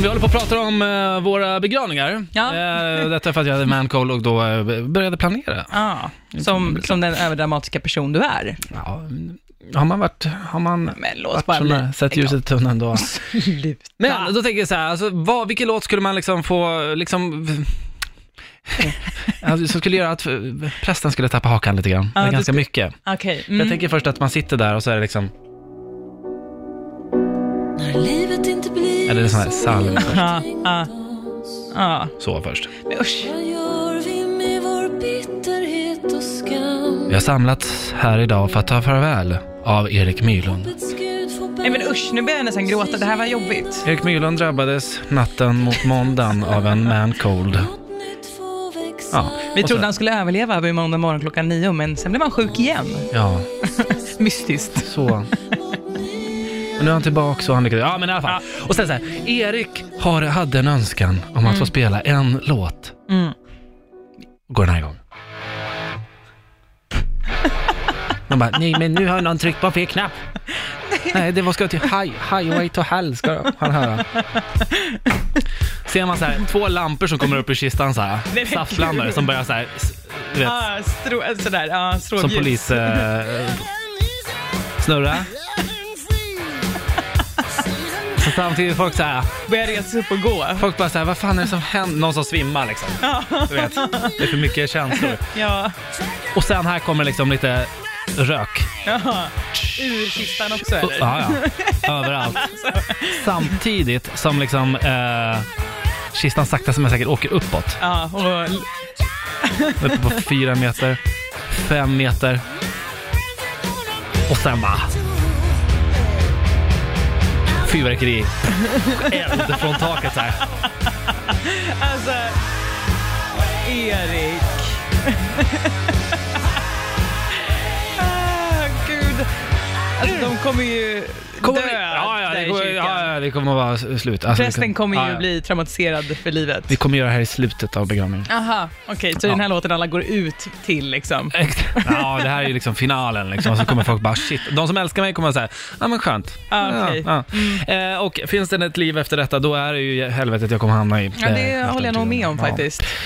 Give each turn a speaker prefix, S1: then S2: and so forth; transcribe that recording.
S1: vi håller på att prata om eh, våra begravningar.
S2: Ja.
S1: Eh, detta är för att jag hade mancall och då eh, började planera.
S2: Ja, som, som den överdramatiska person du är.
S1: Ja, har man varit, har man
S2: Men låt
S1: varit
S2: bara
S1: sån
S2: bli.
S1: där, sett ljuset i tunneln då? Men då tänker jag så här, alltså, vad, vilken låt skulle man liksom få, liksom, alltså, som skulle göra att eh, prästen skulle tappa hakan lite grann,
S2: Ja,
S1: Men
S2: du
S1: ganska
S2: skulle-
S1: mycket.
S2: Okej.
S1: Jag
S2: mm.
S1: tänker först att man sitter där och så är det liksom,
S3: När livet inte blir
S1: Eller en sån här psalm.
S3: Ja, ja.
S2: Ja,
S1: så först.
S2: men usch.
S3: Vad gör vi med vår bitterhet och skam?
S1: Vi har samlats här idag för att ta farväl av Erik Mylund.
S3: Hoppets Gud får
S2: Nej men usch, nu börjar jag nästan gråta. Det här var jobbigt.
S1: Erik Mylund drabbades natten mot måndagen av en man cold.
S3: Något nytt får växa.
S1: Ja,
S2: Vi
S1: Och
S2: trodde
S1: så-
S2: han skulle överleva vid måndag morgon klockan nio, men sen blev han sjuk igen.
S1: Ja,
S2: Mystiskt.
S1: så. Och nu är han tillbaka och han lyckades. Ja, men i alla fall. Och sen så här, Erik har, hade en önskan om att få spela en låt.
S2: Mm.
S1: Går den här igång. Man bara, nej men nu har någon tryckt på fel knapp. Nej, det var ska till high, Highway to Hell ska han höra. Ser man så här, två lampor som kommer upp ur kistan så här.
S2: men
S1: Saftblandare som börjar så här, s- du vet,
S2: Ja, Ah, strå, sådär, ja,
S1: som
S2: strålljus.
S1: polis eh, snurra. Så samtidigt folk så här,
S2: Börjar resa upp och gå.
S1: folk bara så här, vad fan är det som händer? Någon som svimmar liksom. Du vet, det är för mycket känslor.
S2: Ja,
S1: Och sen här kommer liksom lite rök.
S2: ja. Ur kistan också
S1: Och-
S2: eller?
S1: Ja, ja. Överallt. Samtidigt som liksom eh, kistan sakta som jag säkert åker uppåt.
S2: Ja, och
S1: Uppe på fyra meter, fem meter. Och sen bara... Fyrverkeri. Eld från taket så här.
S2: alltså... Erik. ah, gud. Alltså de kommer ju
S1: Kommer
S2: dö
S1: vi- ja, ja,
S2: där
S1: det
S2: i
S1: kommer,
S2: kyrkan.
S1: ja, ja, det kommer att vara s- slut. Alltså, det
S2: Prästen kommer ju
S1: ja, ja.
S2: bli traumatiserad för livet.
S1: Vi kommer göra det här i slutet av begravningen.
S2: Aha, okej, så
S1: Ja.
S2: den här låten alla går ut till liksom.
S1: ja, det här är ju liksom finalen liksom. Och så kommer folk bara shit. De som älskar mig kommer säga, ja men skönt.
S2: Ja, Ah, okej. Mm.
S1: ja, ja. Eh, och finns det ett liv efter detta, då är det ju helvetet jag kommer hamna i.
S2: Ja,
S1: eh,
S2: det
S1: efter
S2: håller jag
S1: tiden.
S2: nog med om
S1: Ja.
S2: faktiskt.